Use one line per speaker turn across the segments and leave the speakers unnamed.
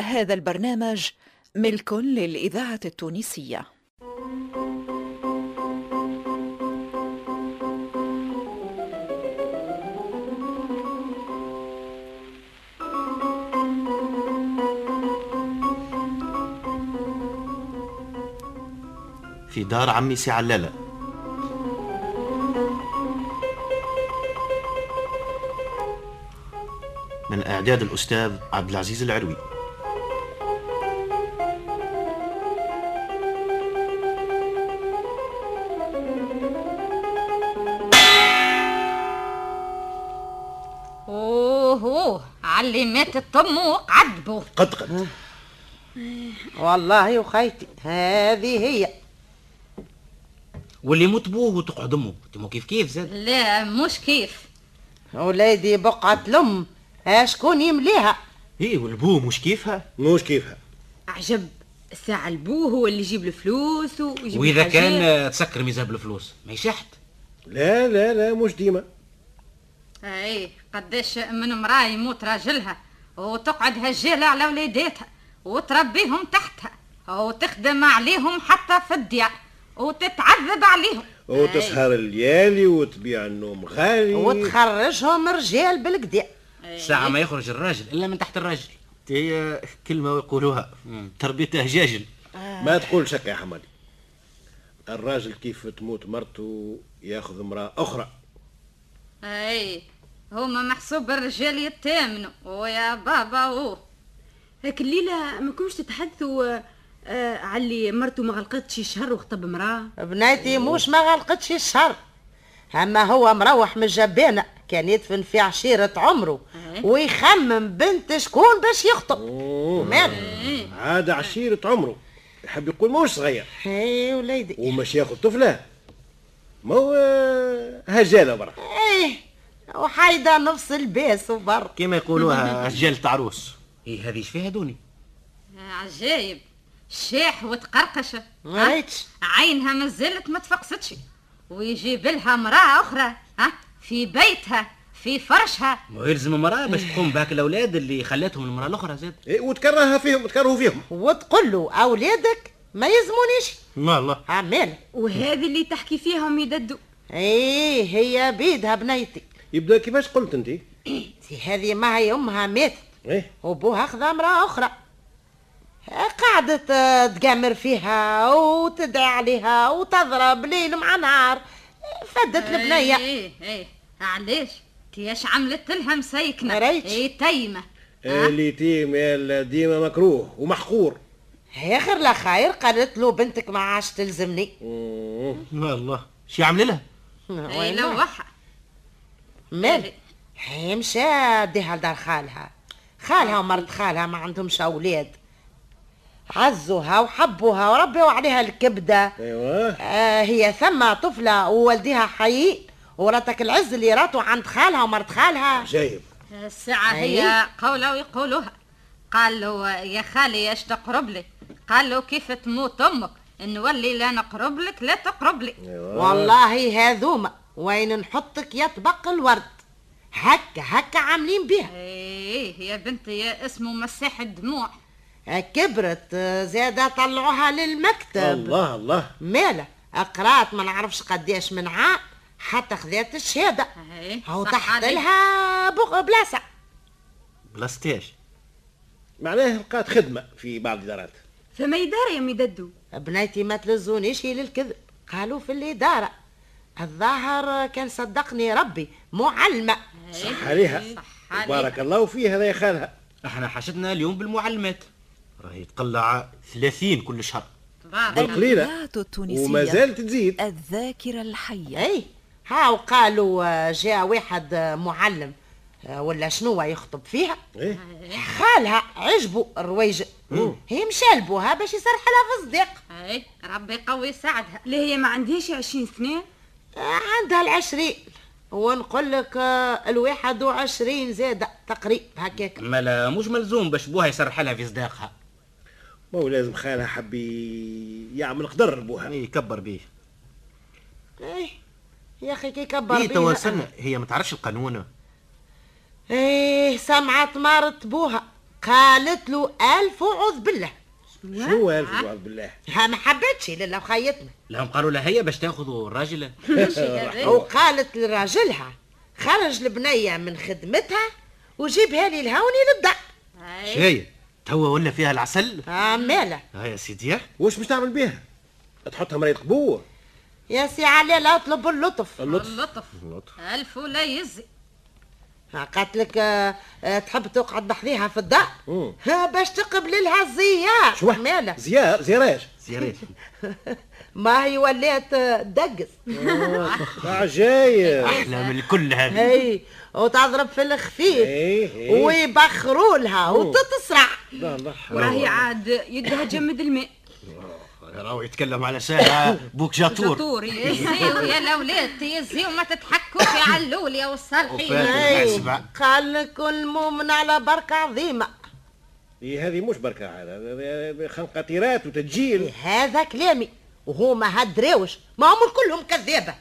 هذا البرنامج ملك للإذاعة التونسية
في دار عمي سي علالة من إعداد الأستاذ عبد العزيز العروي
اوه اوه علي مات الطموق عذبوا
قد قد
والله وخيتي هذه هي
واللي يموت بوه وتقعد امه تمو كيف كيف زاد
لا مش كيف
ولادي بقعة الأم ها شكون يمليها
ايه والبو مش كيفها
مش كيفها
عجب الساعة البو هو اللي يجيب الفلوس ويجيب
واذا
الحاجات.
كان آه، تسكر ميزاب الفلوس ما يشحت
لا لا لا مش ديما
اي قداش من امرأة يموت راجلها وتقعد هالجيلة على ولاداتها وتربيهم تحتها وتخدم عليهم حتى في الديار وتتعذب عليهم
وتسهر الليالي وتبيع النوم غالي
وتخرجهم رجال بالكدا
ساعة ما يخرج الراجل الا من تحت الراجل
هي كلمة يقولوها تربيتها هجاجل
ما تقول شك يا حمادي الراجل كيف تموت مرته ياخذ امرأة أخرى
اي هما محسوب الرجال يتامنوا ويا بابا اوه
هاك الليلة ما كنتش تتحدثوا آه، آه، على اللي مرته ما غلقتش شهر وخطب امرأة
بناتي موش ما غلقتش الشهر أما هو مروح من الجبانة كان يدفن في عشيرة عمره ويخمم بنت شكون باش يخطب مال
عاد عشيرة عمره يحب يقول موش صغير
اي وليدي
ومش ياخذ طفلة ما هو هجالة برا
ايه وحايدة نفس الباس وبر
كما يقولوها رجال تعروس
ايه هذه ايش فيها دوني
آه، عجايب شاح وتقرقشة
ما
ها؟
ريتش.
عينها مازالت ما تفقستش ويجيب لها امرأة أخرى ها في بيتها في فرشها
ما يلزم المرأة باش تقوم بهاك الاولاد اللي خلاتهم المرأة الاخرى زاد
إيه، وتكرهها فيهم وتكرهوا فيهم
وتقول له أولادك ما يلزمونيش
ما الله
عمال
وهذه اللي تحكي فيها أمي ددو
ايه هي بيدها بنيتي
يبدا كيفاش قلت انت
سي هذه ما هي امها ماتت
ايه
وبوها خذا امراه اخرى قعدت آه، تقامر فيها وتدعي عليها وتضرب ليل مع نهار فدت البنيه
ايه ايه علاش كياش عملت لها مسيكنة
مريتش.
ايه تيمة
اليتيم يا ديما مكروه ومحقور
اخر لا خير قالت له بنتك ما عادش تلزمني
مم.
ما الله شي عمل لها
ايه
وين
لوحها
مال هي مشى ديها لدار خالها خالها ومرت خالها ما عندهمش اولاد عزوها وحبوها وربيوا عليها الكبده
ايوه
آه هي ثم طفلة ووالدها حي وراتك العز اللي راتو عند خالها ومرت خالها
جايب
الساعة هي
أي.
قولة ويقولوها قال له يا خالي اش تقرب لي قال له كيف تموت امك نولي لا نقرب لك لا تقرب لي
والله هذوما وين نحطك يطبق الورد هكا هكا عاملين بها
ايه يا بنتي يا اسمه مساح الدموع
آه، كبرت آه، زادة طلعوها للمكتب
الله الله
مالا قرات ما نعرفش قداش من عام حتى خذات الشهادة
ايه
هو
صح
تحت
عليك.
لها بغ- بلاصة
بلاستيش
معناه لقات خدمة في بعض الإدارات
فما يدار يا أمي ددو
بناتي ما تلزونيش للكذب قالوا في الإدارة الظاهر كان صدقني ربي معلمة
صح عليها
إيه. صح عليك.
بارك الله فيها هذا يا خالها
احنا حاجتنا اليوم بالمعلمات
راهي تقلع 30 كل شهر
تبارك
بالقليلة
الإذاعة التونسية
وما زالت تزيد
الذاكرة الحية
اي إيه، ها وقالوا آه، جاء واحد آه، معلم آه، ولا شنو يخطب فيها
إيه؟
خالها عجبوا الرويج هي مشالبوها باش يصرح لها في الصديق
ايه ربي قوي ساعدها
لا هي ما عندهاش عشرين سنة
آه، عندها العشرين ونقول لك آه، الواحد وعشرين زادة تقريب هكاك
مالا مش ملزوم باش بوها يسرح لها في صداقها
ما هو لازم خالها حبي يعمل قدر بوها
إيه، يكبر بيه
إيه، يا اخي كي كبر
هي
بيها.
توصلنا هي ما تعرفش القانون
ايه سمعت إيه، مرت بوها قالت له ألف وعوذ بالله
شنو هذا وعد بالله
ها ما حبتش لله وخيتنا
لهم قالوا لها هي باش تاخذوا الراجل
وقالت لراجلها خرج البنية من خدمتها وجيبها لي لهوني للدار
إيه،
شايف توا ولا فيها العسل
آه ماله
ها يا سيدي
واش باش تعمل بيها تحطها مريض قبور
يا سي علي لا اطلب اللطف
اللطف
اللطف ألف ولا يزي
آه، قالت لك آه، آه، تحب تقعد بحذيها في الدار
مم.
ها باش تقبل لها الزيار
شو
ماله
زيار زيراج
سيريت
ما هي ولات آه، دقس
آه، عجايب
احلى من الكل هذه
هي وتضرب في الخفيف
ايه ايه
ويبخروا لها وتتسرع
لا، لا.
وراهي عاد يدها جمد الماء
راهو يتكلم على ساعه بوك جاتور
جاتور يزيو يا الأولاد يزيو ما تضحكوش يا علول يا والصالحين
وفاة.
هي.
الحاسبة.
قال لك المؤمن على بركة عظيمة
إيه، هذه مش بركه عاد هذه خنقه تيرات وتسجيل
هذا كلامي وهما هدراوش ما هم كلهم كذابة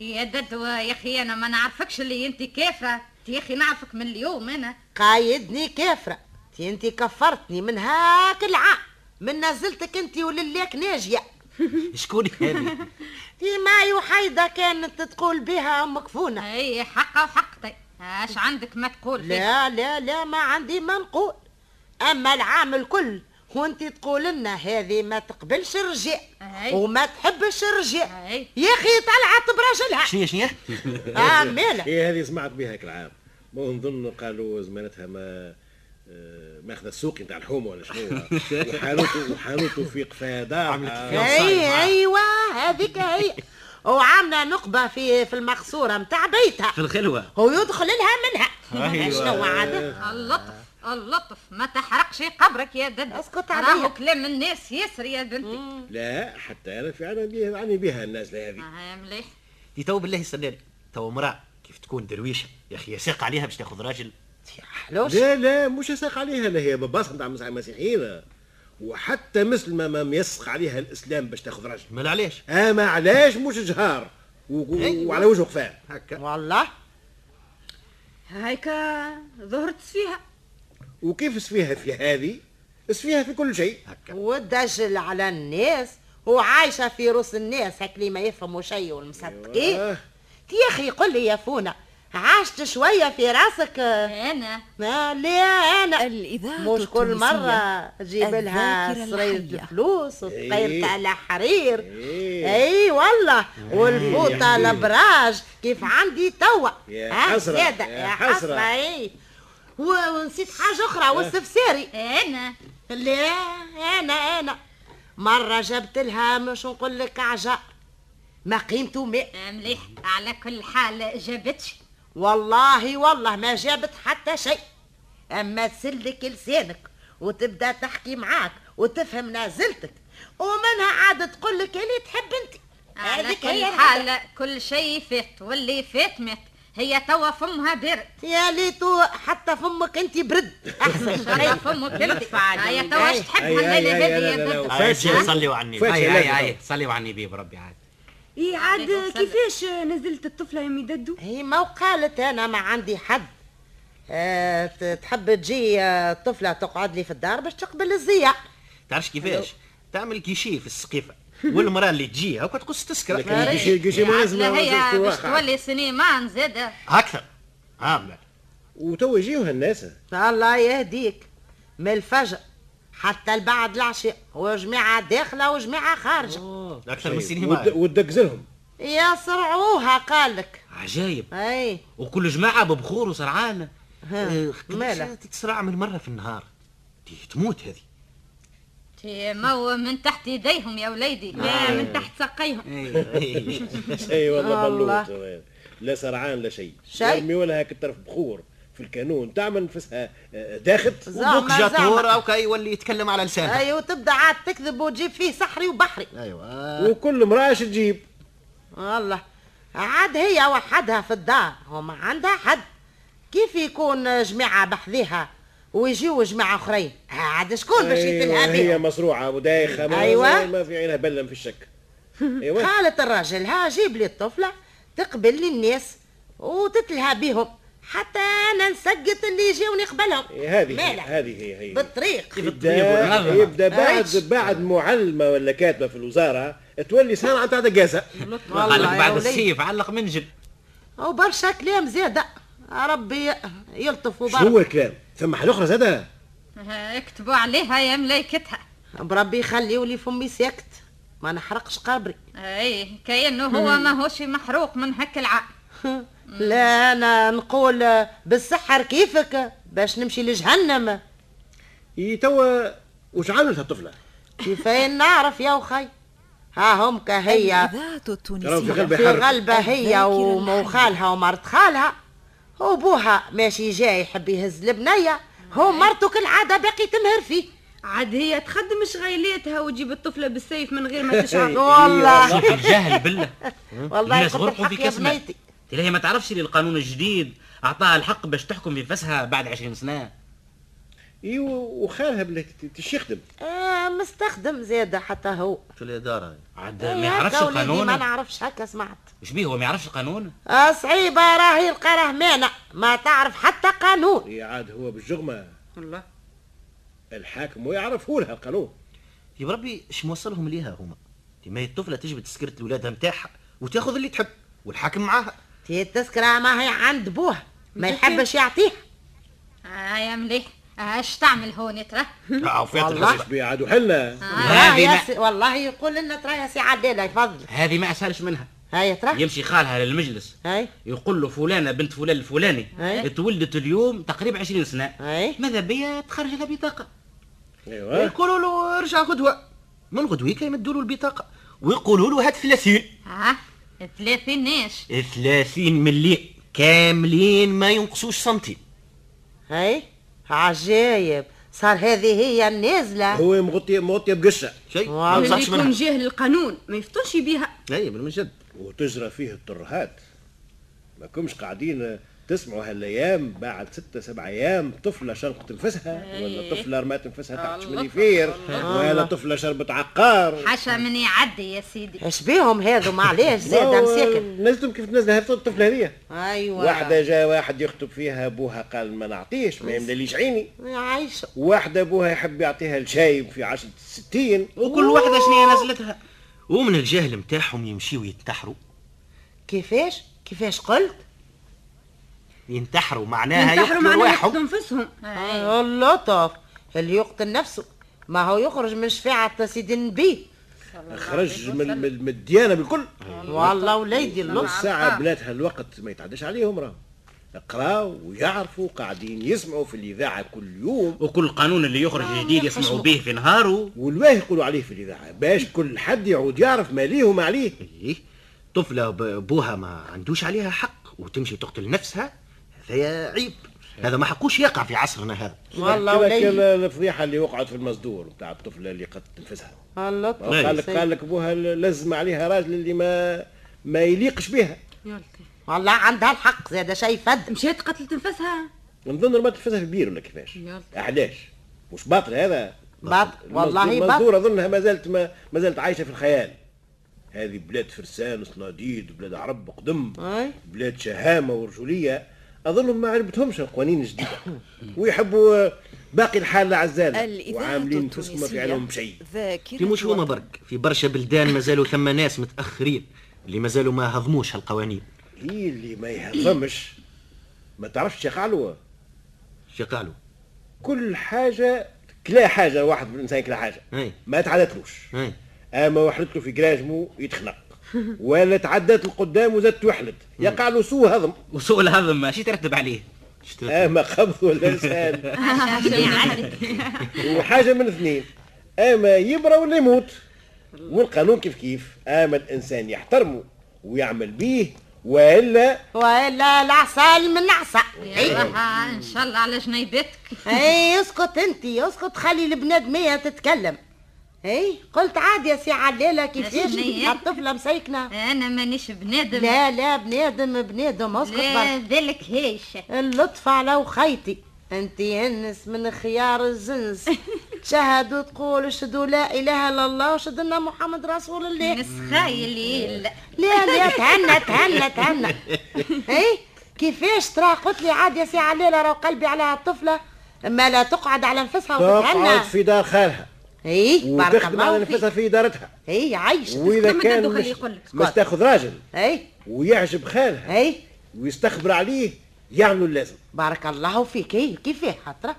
يا ددوة يا أخي أنا ما نعرفكش اللي أنت كافرة يا أخي نعرفك من اليوم أنا
قايدني كافرة تي انت كفرتني من هاك العام من نزلتك انت وللاك ناجية
شكون هذه
تي معي وحيدة كانت تقول بها أمك فونة
أي حقة وحقتي طيب، اش عندك ما تقول فيه؟
لا لا لا ما عندي ما نقول أما العام الكل وانت تقول لنا هذه ما تقبلش الرجال
أي.
وما تحبش الرجال
أي.
يا أخي طلعت براجلها
شنو شنو
آه مالا
ايه هذه سمعت بها هيك العام ما نظن قالوا زمانتها ما آه، ماخذه السوق نتاع الحومه ولا شنو وحانوت وحانوت في قفاده
أي أيوة هذيك هي وعاملة نقبة في في المقصورة متاع بيتها
في الخلوه
ويدخل لها منها شنو عاد
اللطف اللطف ما تحرقش قبرك يا دد
اسكت عليا.
راهو كلام الناس ياسر يا بنتي
لا حتى انا في عندي عني بها النازله هذه
آه، مليح
دي تو بالله يسلم
تو امراه كيف تكون درويشه يا اخي يساق عليها باش تاخذ راجل
حلوش
لا لا مش يساق عليها لا هي بباصة نتاع المس- المسيحيين وحتى مسلمة ما ميسق عليها الإسلام باش تاخذ راجل
مال علاش
أما علاش مش جهار و- و- وعلى وجه قفاه
هكا
والله
هايكا ظهرت فيها
وكيف سفيها في هذه سفيها في كل شيء
ودجل على الناس وعايشة في روس الناس هاك اللي ما يفهموا شيء والمصدقين
أيوة.
يا أخي قل لي يا فونا عاشت شوية في راسك آه،
انا
ما لا أنا
الإذاعة
مش كل مرة تجيب لها
الذاكرة
سريرة
الحية.
فلوس وتطيرت
إيه.
على حرير
إيه.
اي والله والفوطة الابراج كيف عندي توا
يا
ها،
حسرة،
زادة،
يا
يا
حسرة.
حسرة
إيه.
اي و- ونسيت حاجة أخرى والسفساري
انا
لا انا انا مره جبت لها مش نقول لك عجاء ما قيمته ماء
آه، مليح على كل حال جابتش
والله والله ما جابت حتى شيء اما تسلك لسانك وتبدا تحكي معاك وتفهم نازلتك ومنها عاد تقول لك اللي تحب انت
على
هذيك
كل
هي الحالة
حال كل شيء فات واللي فات مات هي توا فمها برد
يا ليتو حتى فمك انت برد احسن
ترى
شيء
فمك برد هي توا اش تحب
أي- أي-
الليله
أي-
هذه
لا- لا-
يا
لا.
آه،
دد
هاي،
فاشل.
صلوا على النبي
فاشل.
اي اي اي صلي على النبي بربي عاد
اي عاد
عليكم السلام.
كيفاش نزلت الطفله يا امي ددو
هي ما وقالت انا ما عندي حد أه ت- تحب تجي آه، طفله تقعد لي في الدار باش تقبل الزيار
تعرفش كيفاش
أيوه.
تعمل كيشي في السقيفه والمراه اللي تجي هاكا تقص
لكن
تسكر إيه.
قيشي قيشي ما لازم
لا هي
نشوف
باش
واقع.
تولي سنيمان زاده
اكثر ها
وتوا يجيوها الناس
الله يهديك من الفجر حتى بعد العشاء وجماعة داخلة وجماعة خارجة
اكثر
طيب.
من
وت-
سنين
وتدقزلهم
يسرعوها قالك
عجايب
اي
وكل جماعه ببخور وسرعان آه،
مالا.
تتسرع من مره في النهار دي تموت هذه
مو من تحت يديهم يا وليدي
لا من تحت ساقيهم
أيوه.
إيه.
اي والله
الله.
بلوط لا سرعان لا شيء
شيء.
يرمي ولا هاك الطرف بخور في الكانون تعمل نفسها آه، داخت
زعما- أيوه.
وبوك جاتور
زعما.
او كي يولي يتكلم على لسانه
اي وتبدا عاد تكذب وتجيب فيه سحري وبحري
ايوه
وكل امراه اش تجيب
والله عاد هي وحدها في الدار وما عندها حد كيف يكون جماعة بحذيها ويجيو جماعة أخرين ها، عاد شكون باش يتلها
أيوة، هي
بيهم
مصروعه ودايخه ما-
أيوة.
ما في عينها بلم في الشك ايوه
قالت الراجل ها جيب لي الطفلة تقبل لي الناس وتتلهى بيهم حتى انا نسقط اللي يجيوني قبلهم
إيه، هذه هي-
مالك؟
هذه هي هي
بالطريق
يبدا
أيوه.
بالطريق
يبدا بعد
أيش.
بعد معلمه ولا كاتبه في الوزاره تولي صانعه تاع دقازه
علق
يا
بعد
وليد.
السيف علق منجل
وبرشا كلام زيادة ربي يلطف
شنو هو
وبرك
الكلام ثم حل اخرى زاده
ها، اكتبوا عليها يا ملايكتها
بربي يخليولي فمي ساكت ما نحرقش قبري
اي كأنه هو ماهوش محروق من هك العقل
لا انا نقول بالسحر كيفك باش نمشي لجهنم
إي توا وش عملت الطفله؟
كيفين نعرف يا وخي ها هم كهي
الإذاعة
ترى في
التونسية
قلبي
في
حرب
غلبة هي وم- وخالها ومرت خالها وبوها ماشي جاي يحب يهز البنية هو مرته كالعادة باقي تمهر فيه
عاد هي تخدم شغيلاتها وتجيب الطفله بالسيف من غير ما تشعر
أيوة.
والله
أه.
صح الجهل بالله
والله
الناس
قلت
غرقوا
الحق
في
يا
كسمة
بنيتي
تلاقيها ما تعرفش اللي القانون الجديد اعطاها الحق باش تحكم في نفسها بعد 20 سنه
إي و- وخالها بلي ت- تش يخدم
آه مستخدم زيادة حتى هو
شو الاداره
عاد
إيه
ما
هكا
يعرفش
وليدي ما
القانون
نعرفش هكا سمعت
وش بيه هو ما يعرفش القانون
آه صعيبة راهي القراه مانع ما تعرف حتى قانون
إي عاد هو بالجغمه
والله
الحاكم ويعرفوا لها القانون
يا ربي اش موصلهم ليها هما ما هي الطفله تجبد تذكره لاولادها نتاعها وتاخذ اللي تحب والحاكم معاها
تي التذكرة ما هي عند بوها ما يحبش يعطيها
اه يا مليح اش تعمل هون ترى
ايش بيه عاد وحلنا
تراه
هذه
آه، يا
ما-
سي- والله يقول لنا ترى يا سي عدالة يفضل
هذه ما اسهلش منها
هاي ترى
يمشي خالها للمجلس
هاي
يقول له فلانه بنت فلان الفلاني
أي.
تولدت اليوم تقريبا 20 سنه
أي.
ماذا بيا تخرج لها بطاقه
ايوه
يقولوا له ارجع غدوه من غدويك يمدوا له البطاقه ويقولوا له هات 30
ها آه، ثلاثين ناش
30 ملي كاملين ما ينقصوش سنتي
هاي عجايب صار هذه هي النازلة
هو مغطي مغطي بقشه
شيء ما
والله.
ينقصش
يكون
منها
جاهل القانون ما يفطنش بيها
اي من جد
وتجرى فيه الترهات ما كمش قاعدين تسمعوا هالايام بعد ستة سبع ايام طفله شنقت نفسها ولا طفله رمات نفسها تحت منيفير ولا طفله شربت عقار
حاشا من يعدي يا سيدي
اش بيهم هذو معليش زادة مساكن
نزلتم كيف نزل هذه الطفله هذه
ايوا
واحده جا واحد يخطب فيها ابوها قال ما نعطيش ما يمليش عيني
عايشة
واحدة أبوها يحب يعطيها الشايب في عشرة الستين
وكل واحده شنو نزلتها
ومن الجهل نتاعهم يمشيو ينتحروا
كيفاش كيفاش قلت
ينتحروا معناها
ينتحروا
يقتلوا
معنا
واحد
يحطوا انفسهم
آه، اللطف اللي يقتل نفسه ما هو يخرج من شفاعة سيدي النبي
خرج من, من, من الديانة بالكل
والله وليدي اللطف
نص ساعة بناتها الوقت ما يتعداش عليهم راه قراو ويعرفوا قاعدين يسمعوا في الإذاعة كل يوم
وكل قانون اللي يخرج جديد يسمعوا به في نهاره
والواه يقولوا عليه في الإذاعة باش كل حد يعود يعرف ما ليه وما عليه
إيه. طفله ب- بوها ما عندوش عليها حق وتمشي تقتل نفسها هذا عيب هذا ما حقوش يقع في عصرنا هذا
والله
كما كان
وليدي
الفضيحة اللي وقعت في المصدور بتاع الطفلة اللي قتلت نفسها
اللطف
قال لك قال لك أبوها لزم عليها راجل اللي ما ما يليقش بها
والله عندها الحق زاد شيء فد
مشات قتلت نفسها
نظن رمت نفسها في بير ولا كيفاش 11 مش باطل هذا
بط والله بط
منظور اظنها ما زالت ما, ما زالت عايشه في الخيال هذه بلاد فرسان وصناديد وبلاد عرب قدم
أي.
بلاد شهامه ورجوليه اظنهم ما عرفتهمش القوانين الجديده ويحبوا آه، باقي الحاله عزاله
الإذاعة
وعاملين انفسهم ما في
التونسية
عليهم شيء
في
ذاكرة
مش هما
وطن.
برك في برشا بلدان مازالوا ثم ناس متاخرين اللي مازالوا ما هضموش هالقوانين
هي اللي ما يهضمش ما تعرفش يقعلوا
شو قالوا
كل حاجه كلا حاجه واحد من الانسان كلا حاجه
أي.
ما تعادتلوش
أي.
اما وحلت له في كراجمو يتخنق ولا تعدات لقدام وزاد توحلت يقع له سوء هضم
وسوء الهضم ماشي ترتب عليه
شترت
اما قبض ولا سهل
حاشا آه، من يعدي
وحاجه من اثنين اما يبرى ولا يموت والقانون كيف كيف اما الانسان يحترمه ويعمل بيه والا
ولا العسل من عسى
أيوة.
يا رها، ان آه، شاء الله على جنيبتك
اي اسكت انت اسكت خلي البنادمية تتكلم اي قلت عادي يا سي علالة كيفاش
شنية؟
الطفلة مسيكنة
انا مانيش بنادم
لا لا بنادم بنادم اسكت برك
لا ذلك هيش
اللطف على وخيتي انت انس من خيار الزنس تشهد وتقول اشهدوا لا اله الا الله واشهد ان محمد رسول الله
مسخايل يلا
لا لا تهنى تهنى تهنى اي كيفاش ترى قلت لي عاد يا سي علالة راهو قلبي على الطفلة ما لا تقعد على نفسها
تقعد
وتتهنى
في دار خالها
اي إيه، بارك
وتخدم على
الله
نفسها
فيك إيه،
في دارتها
اي عايش
واذا
تستمد
كان
الدخل
مش,
يقول لك.
مش
اسكت.
تاخذ راجل
اي
ويعجب خالها
اي
ويستخبر عليه يعملوا اللازم
إيه، بارك الله فيك إيه، اي كيفاه ترى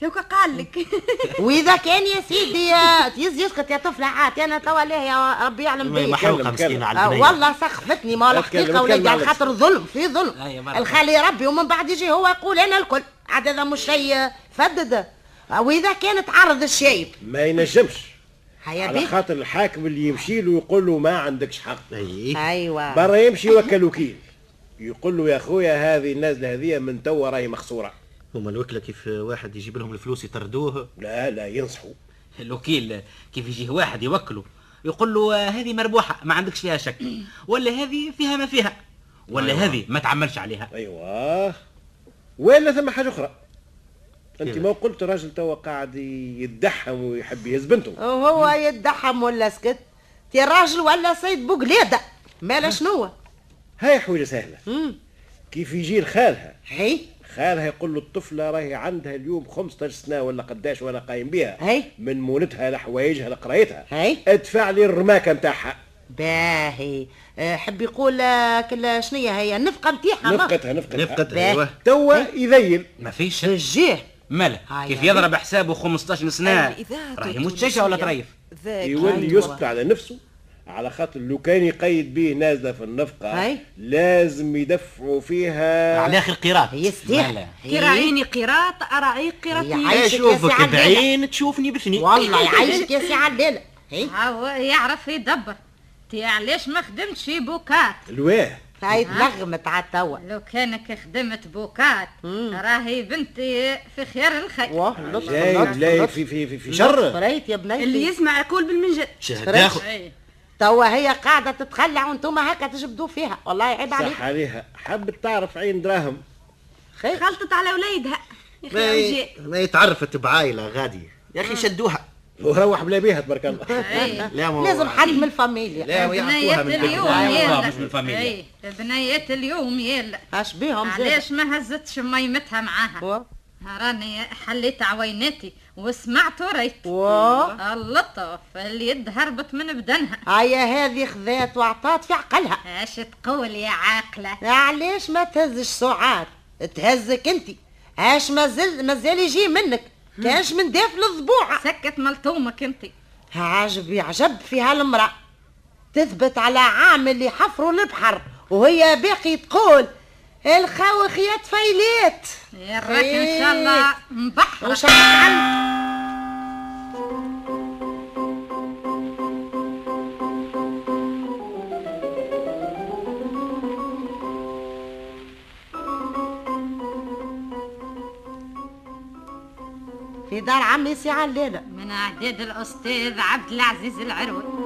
توك قال لك
واذا كان يا سيدي آه، يز يسكت يا طفله عاتي انا توا ليه يا ربي يعلم بيك
محوقه
كلم،
مسكينه
كلم.
على
آه،
البنيه
والله سخفتني ما هو
أتكلم-
الحقيقه ولادي
أتكلم
على
على أيوة،
خاطر ظلم في ظلم
أي مرة.
الخالي ربي ومن بعد يجي هو يقول انا الكل عاد هذا مش شيء آه، فدد آه، واذا كان تعرض الشايب
ما ينجمش
هيا
على
بيك
خاطر الحاكم اللي يمشي له يقول له ما عندكش حق
اي
إيه.
ايوه
برا يمشي وكل وكيل يقول له يا خويا هذه النازله هذه من توا راهي مخسوره
هما الوكله كيف واحد يجيب لهم الفلوس يطردوه
لا لا ينصحوا
الوكيل كيف يجيه واحد يوكله يقول له آه، هذه مربوحه ما عندكش فيها شك ولا هذه فيها ما فيها ولا هذه ما تعملش عليها
ايوه ولا ثم حاجه اخرى انت
كيف؟
ما قلت راجل توا قاعد يدحم ويحب يهز بنته
وهو يدحم ولا سكت يا راجل ولا سيد بوقلاده مالا شنو
هاي حويجه سهله
امم
كيف يجي لخالها
هي
خالها يقول له الطفله راهي عندها اليوم 15 سنه ولا قداش وانا قايم بها
هي
من مولتها لحوايجها لقرايتها
هي
ادفع لي الرماكه نتاعها
باهي آه، حب يقول آه، كلا شنية هي النفقة نتاعها ما-
نفقتها نفقتها
نفقد
باهي.
أيوة.
ايوه
توا يذيل
ما فيش
تجيه
ماله
هاي
كيف
هاي.
يضرب حسابه 15 سنه
الإذاعة
راهي
التونسية.
متشجع ولا طريف
ذاك
يولي
أيوة.
يسكت على نفسه على خاطر لو كان يقيد به نازله في النفقه
أي.
لازم يدفعوا فيها
على اخر قيراط
هي
ماله.
ستيح
كي راعيني قراط أراعي قراطي
يعيش. يعيشك يا سي
اشوفك
عدنان.
بعين تشوفني بثني
والله يعيشك يا سي علالة هي
هو يعرف يدبر تي علاش ما خدمتش بوكات
الواه
هاي تلغمت على توا
لو كانك خدمت بوكات راهي بنتي في خير الخير
واه لطف
جاي
لطف
بلاي
لطف.
في في في, في
لطف
شر
رايت يا
اللي
بنيتي
يسمع يقول بالمنجد
شهد
فريش.
داخل
إيه.
توا هي قاعدة تتخلع وانتوما هكا تجبدوا فيها والله عيب عليك
صح عليها حبت تعرف عين دراهم
خير
خلطت على وليدها يا أخي
ما
وجيه.
ي- ما يتعرفت بعايله غادي يا
آه.
اخي شدوها
وروح بلا بيها تبارك الله
إيه.
لا ما
لازم حد من الفاميليا
Ờ,
لا
بنيات
ويعرفوها من
اليوم
البيت.
والله
يلا
مش من الفاميليا.
إيه. بنيات اليوم يلا
اش بيهم زاد
علاش ما هزتش ميمتها معاها
واه.
راني حليت عويناتي وسمعت وريت
واه.
اللطف اليد هربت من بدنها
هيا هذه خذات وعطات في عقلها
اش تقول يا عاقله
علاش ما تهزش سعاد تهزك انت اش مازال مازال يجي منك كانش من داف للضبوع
سكت ملطومك انت
عجب يعجب في هالمرأة تثبت على عامل اللي حفروا البحر وهي باقي تقول الخوخ يا تفيليت
يا راك ان شاء الله مبحر
وش عملت؟ في دار عمي سي علالة
من اعداد الاستاذ عبد العزيز العروي